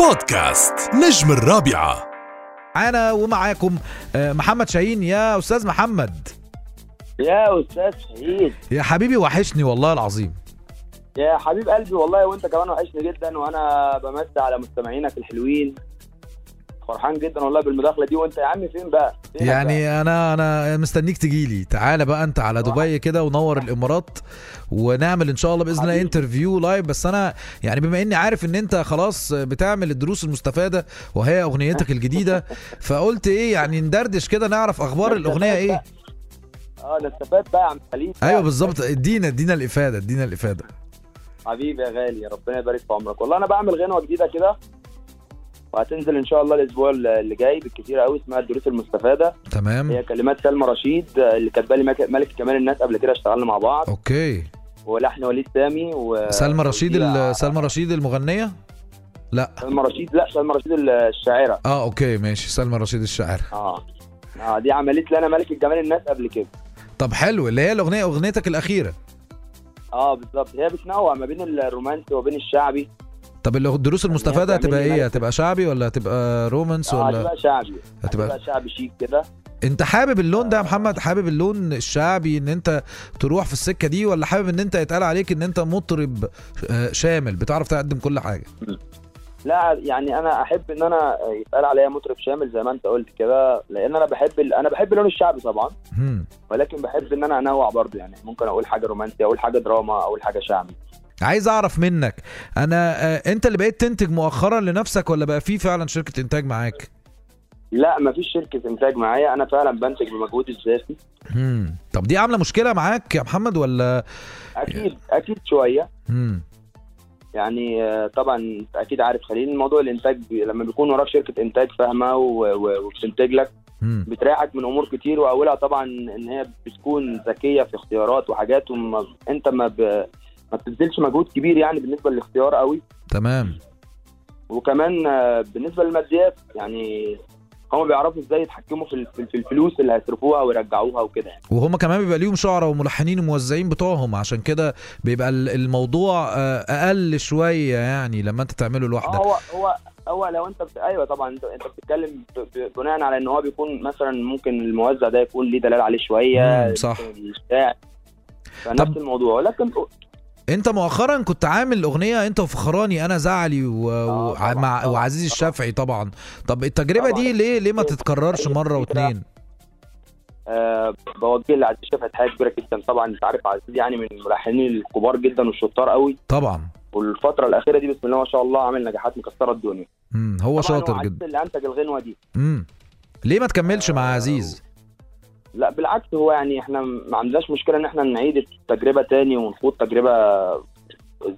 بودكاست نجم الرابعة معانا ومعاكم آه، محمد شاهين يا استاذ محمد يا استاذ شهيد يا حبيبي وحشني والله العظيم يا حبيب قلبي والله وانت كمان وحشني جدا وانا بمسي على مستمعينك الحلوين فرحان جدا والله بالمداخله دي وانت إيه يا عم فين بقى؟ فينك بقى؟ يعني انا انا مستنيك تجي لي تعالى بقى انت على دبي كده ونور الامارات ونعمل ان شاء الله باذن الله حبيبي. انترفيو لايف بس انا يعني بما اني عارف ان انت خلاص بتعمل الدروس المستفاده وهي اغنيتك الجديده فقلت ايه يعني ندردش كده نعرف اخبار الاغنيه ايه اه ده استفاد بقى يا عم خليل ايوه بالظبط ادينا ادينا الافاده ادينا الافاده حبيبي يا غالي ربنا يبارك في عمرك والله انا بعمل غنوه جديده كده وهتنزل ان شاء الله الاسبوع اللي جاي بالكتير قوي اسمها الدروس المستفاده تمام هي كلمات سلمى رشيد آه، اللي كاتبه لي مك- ملك كمال الناس قبل كده اشتغلنا مع بعض اوكي ولحن وليد سامي و سلمى رشيد ال- وتوزيع- سلمى رشيد المغنيه لا سلمى رشيد لا سلمى رشيد الشاعره اه اوكي ماشي سلمى رشيد الشاعرة اه اه دي عملت لي انا ملك الجمال الناس قبل كده طب حلو اللي هي الاغنيه اغنيتك الاخيره اه بالظبط هي بتنوع ما بين الرومانسي وبين الشعبي طب اللي- الدروس المستفاده هي بتعمل هتبقى لي ايه ملل. هتبقى شعبي ولا هتبقى رومانس اه ولا هتبقى شعبي هتبقى- هتبقى شعبي شيك كده انت حابب اللون ده يا محمد حابب اللون الشعبي ان انت تروح في السكه دي ولا حابب ان انت يتقال عليك ان انت مطرب آه، شامل بتعرف تقدم كل حاجه لا يعني انا احب ان انا يتقال عليا مطرب شامل زي ما انت قلت كده لان انا بحب ال... انا بحب اللون الشعبي طبعا هم. ولكن بحب ان انا انوع برضه يعني ممكن اقول حاجه رومانسي اقول حاجه دراما اقول حاجه شعبي عايز اعرف منك انا آه، انت اللي بقيت تنتج مؤخرا لنفسك ولا بقى في فعلا شركه انتاج معاك لا مفيش شركه انتاج معايا انا فعلا بنتج بمجهودي الذاتي هم. طب دي عامله مشكله معاك يا محمد ولا اكيد اكيد شويه هم. يعني آه، طبعا أنت اكيد عارف خليل موضوع الانتاج بي- لما بيكون وراك شركه انتاج فاهمه و- و- وبتنتج لك هم. بتريحك من امور كتير واولها طبعا ان هي بتكون ذكيه في اختيارات وحاجات وما انت ما ب... ما بتبذلش مجهود كبير يعني بالنسبه للاختيار قوي تمام وكمان آه، بالنسبه للماديات يعني هم بيعرفوا ازاي يتحكموا في ال- في في الفلوس اللي هيصرفوها ويرجعوها وكده يعني وهم كمان بيبقى ليهم شعراء وملحنين وموزعين بتوعهم عشان كده بيبقى ال- الموضوع آه، اقل شويه يعني لما انت تعمله اه لوحدك هو هو هو لو انت بت... ايوه طبعا انت انت بتتكلم ب... ب... بناء على ان هو بيكون مثلا ممكن الموزع ده يكون ليه دلال عليه شويه مم، صح. الشاعر فنفس طب- الموضوع ولكن انت مؤخرا كنت عامل اغنيه انت وفخراني انا زعلي و... آه، وع- طبعاً، مع طبعاً، وعزيز طبعاً. الشافعي طبعا طب التجربه طبعاً. دي ليه ليه ما تتكررش أي مره فكرة. واتنين آه بوجه لعزيز شفت حاجه كبيره جدا طبعا انت عارف عزيز يعني من الملحنين الكبار جدا والشطار قوي طبعا والفتره الاخيره دي بسم الله ما شاء الله عامل نجاحات مكسره الدنيا مم. هو طبعاً شاطر عزيز جدا اللي انتج الغنوه دي مم. ليه ما تكملش مع آه، عزيز لا بالعكس هو يعني احنا ما عندناش مشكله ان احنا نعيد التجربه تاني ونخوض تجربه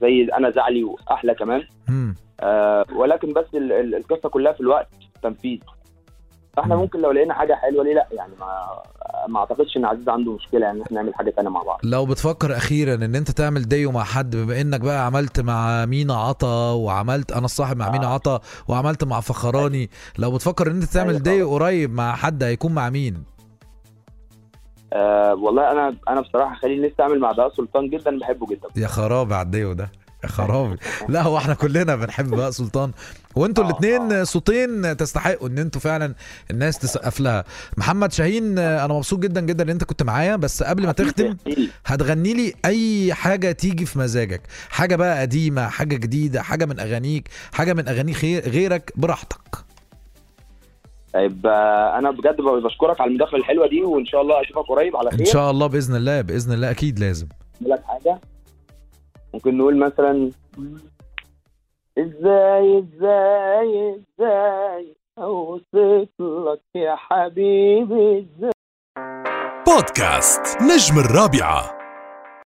زي انا زعلي واحلى كمان مم. آه، ولكن بس ال- ال- القصه كلها في الوقت تنفيذ فاحنا مم. ممكن لو لقينا حاجه حلوه ليه لا يعني ما ما اعتقدش ان عزيز عنده مشكله يعني احنا نعمل حاجه تانية مع بعض لو بتفكر اخيرا ان انت تعمل ديو مع حد بما انك بقى عملت مع مينا عطا وعملت انا الصاحب مع مينا آه. عطا وعملت مع فخراني لو بتفكر ان انت تعمل أيوة ديو قريب مع حد هيكون مع مين أه والله انا انا بصراحه خليل لسه اعمل مع بهاء سلطان جدا بحبه جدا يا خرابي على الديو ده أيوة. يا خرابي لا هو احنا كلنا بنحب بقى سلطان وانتوا آه، الاثنين آه. صوتين تستحقوا ان انتوا فعلا الناس تسقف لها محمد شاهين انا مبسوط جدا جدا ان انت كنت معايا بس قبل ما تختم خليل، هتغني لي اي حاجه تيجي في مزاجك حاجه بقى قديمه حاجه جديده حاجه من اغانيك حاجه من اغاني خير غيرك براحتك طيب آه، انا بجد بشكرك على المداخله الحلوه دي وان شاء الله اشوفك قريب على ان خير شاء الله باذن الله باذن الله اكيد لازم أقول لك حاجه ممكن نقول مثلا ازاي ازاي ازاي اوصف لك يا حبيبي ازاي بودكاست نجم الرابعة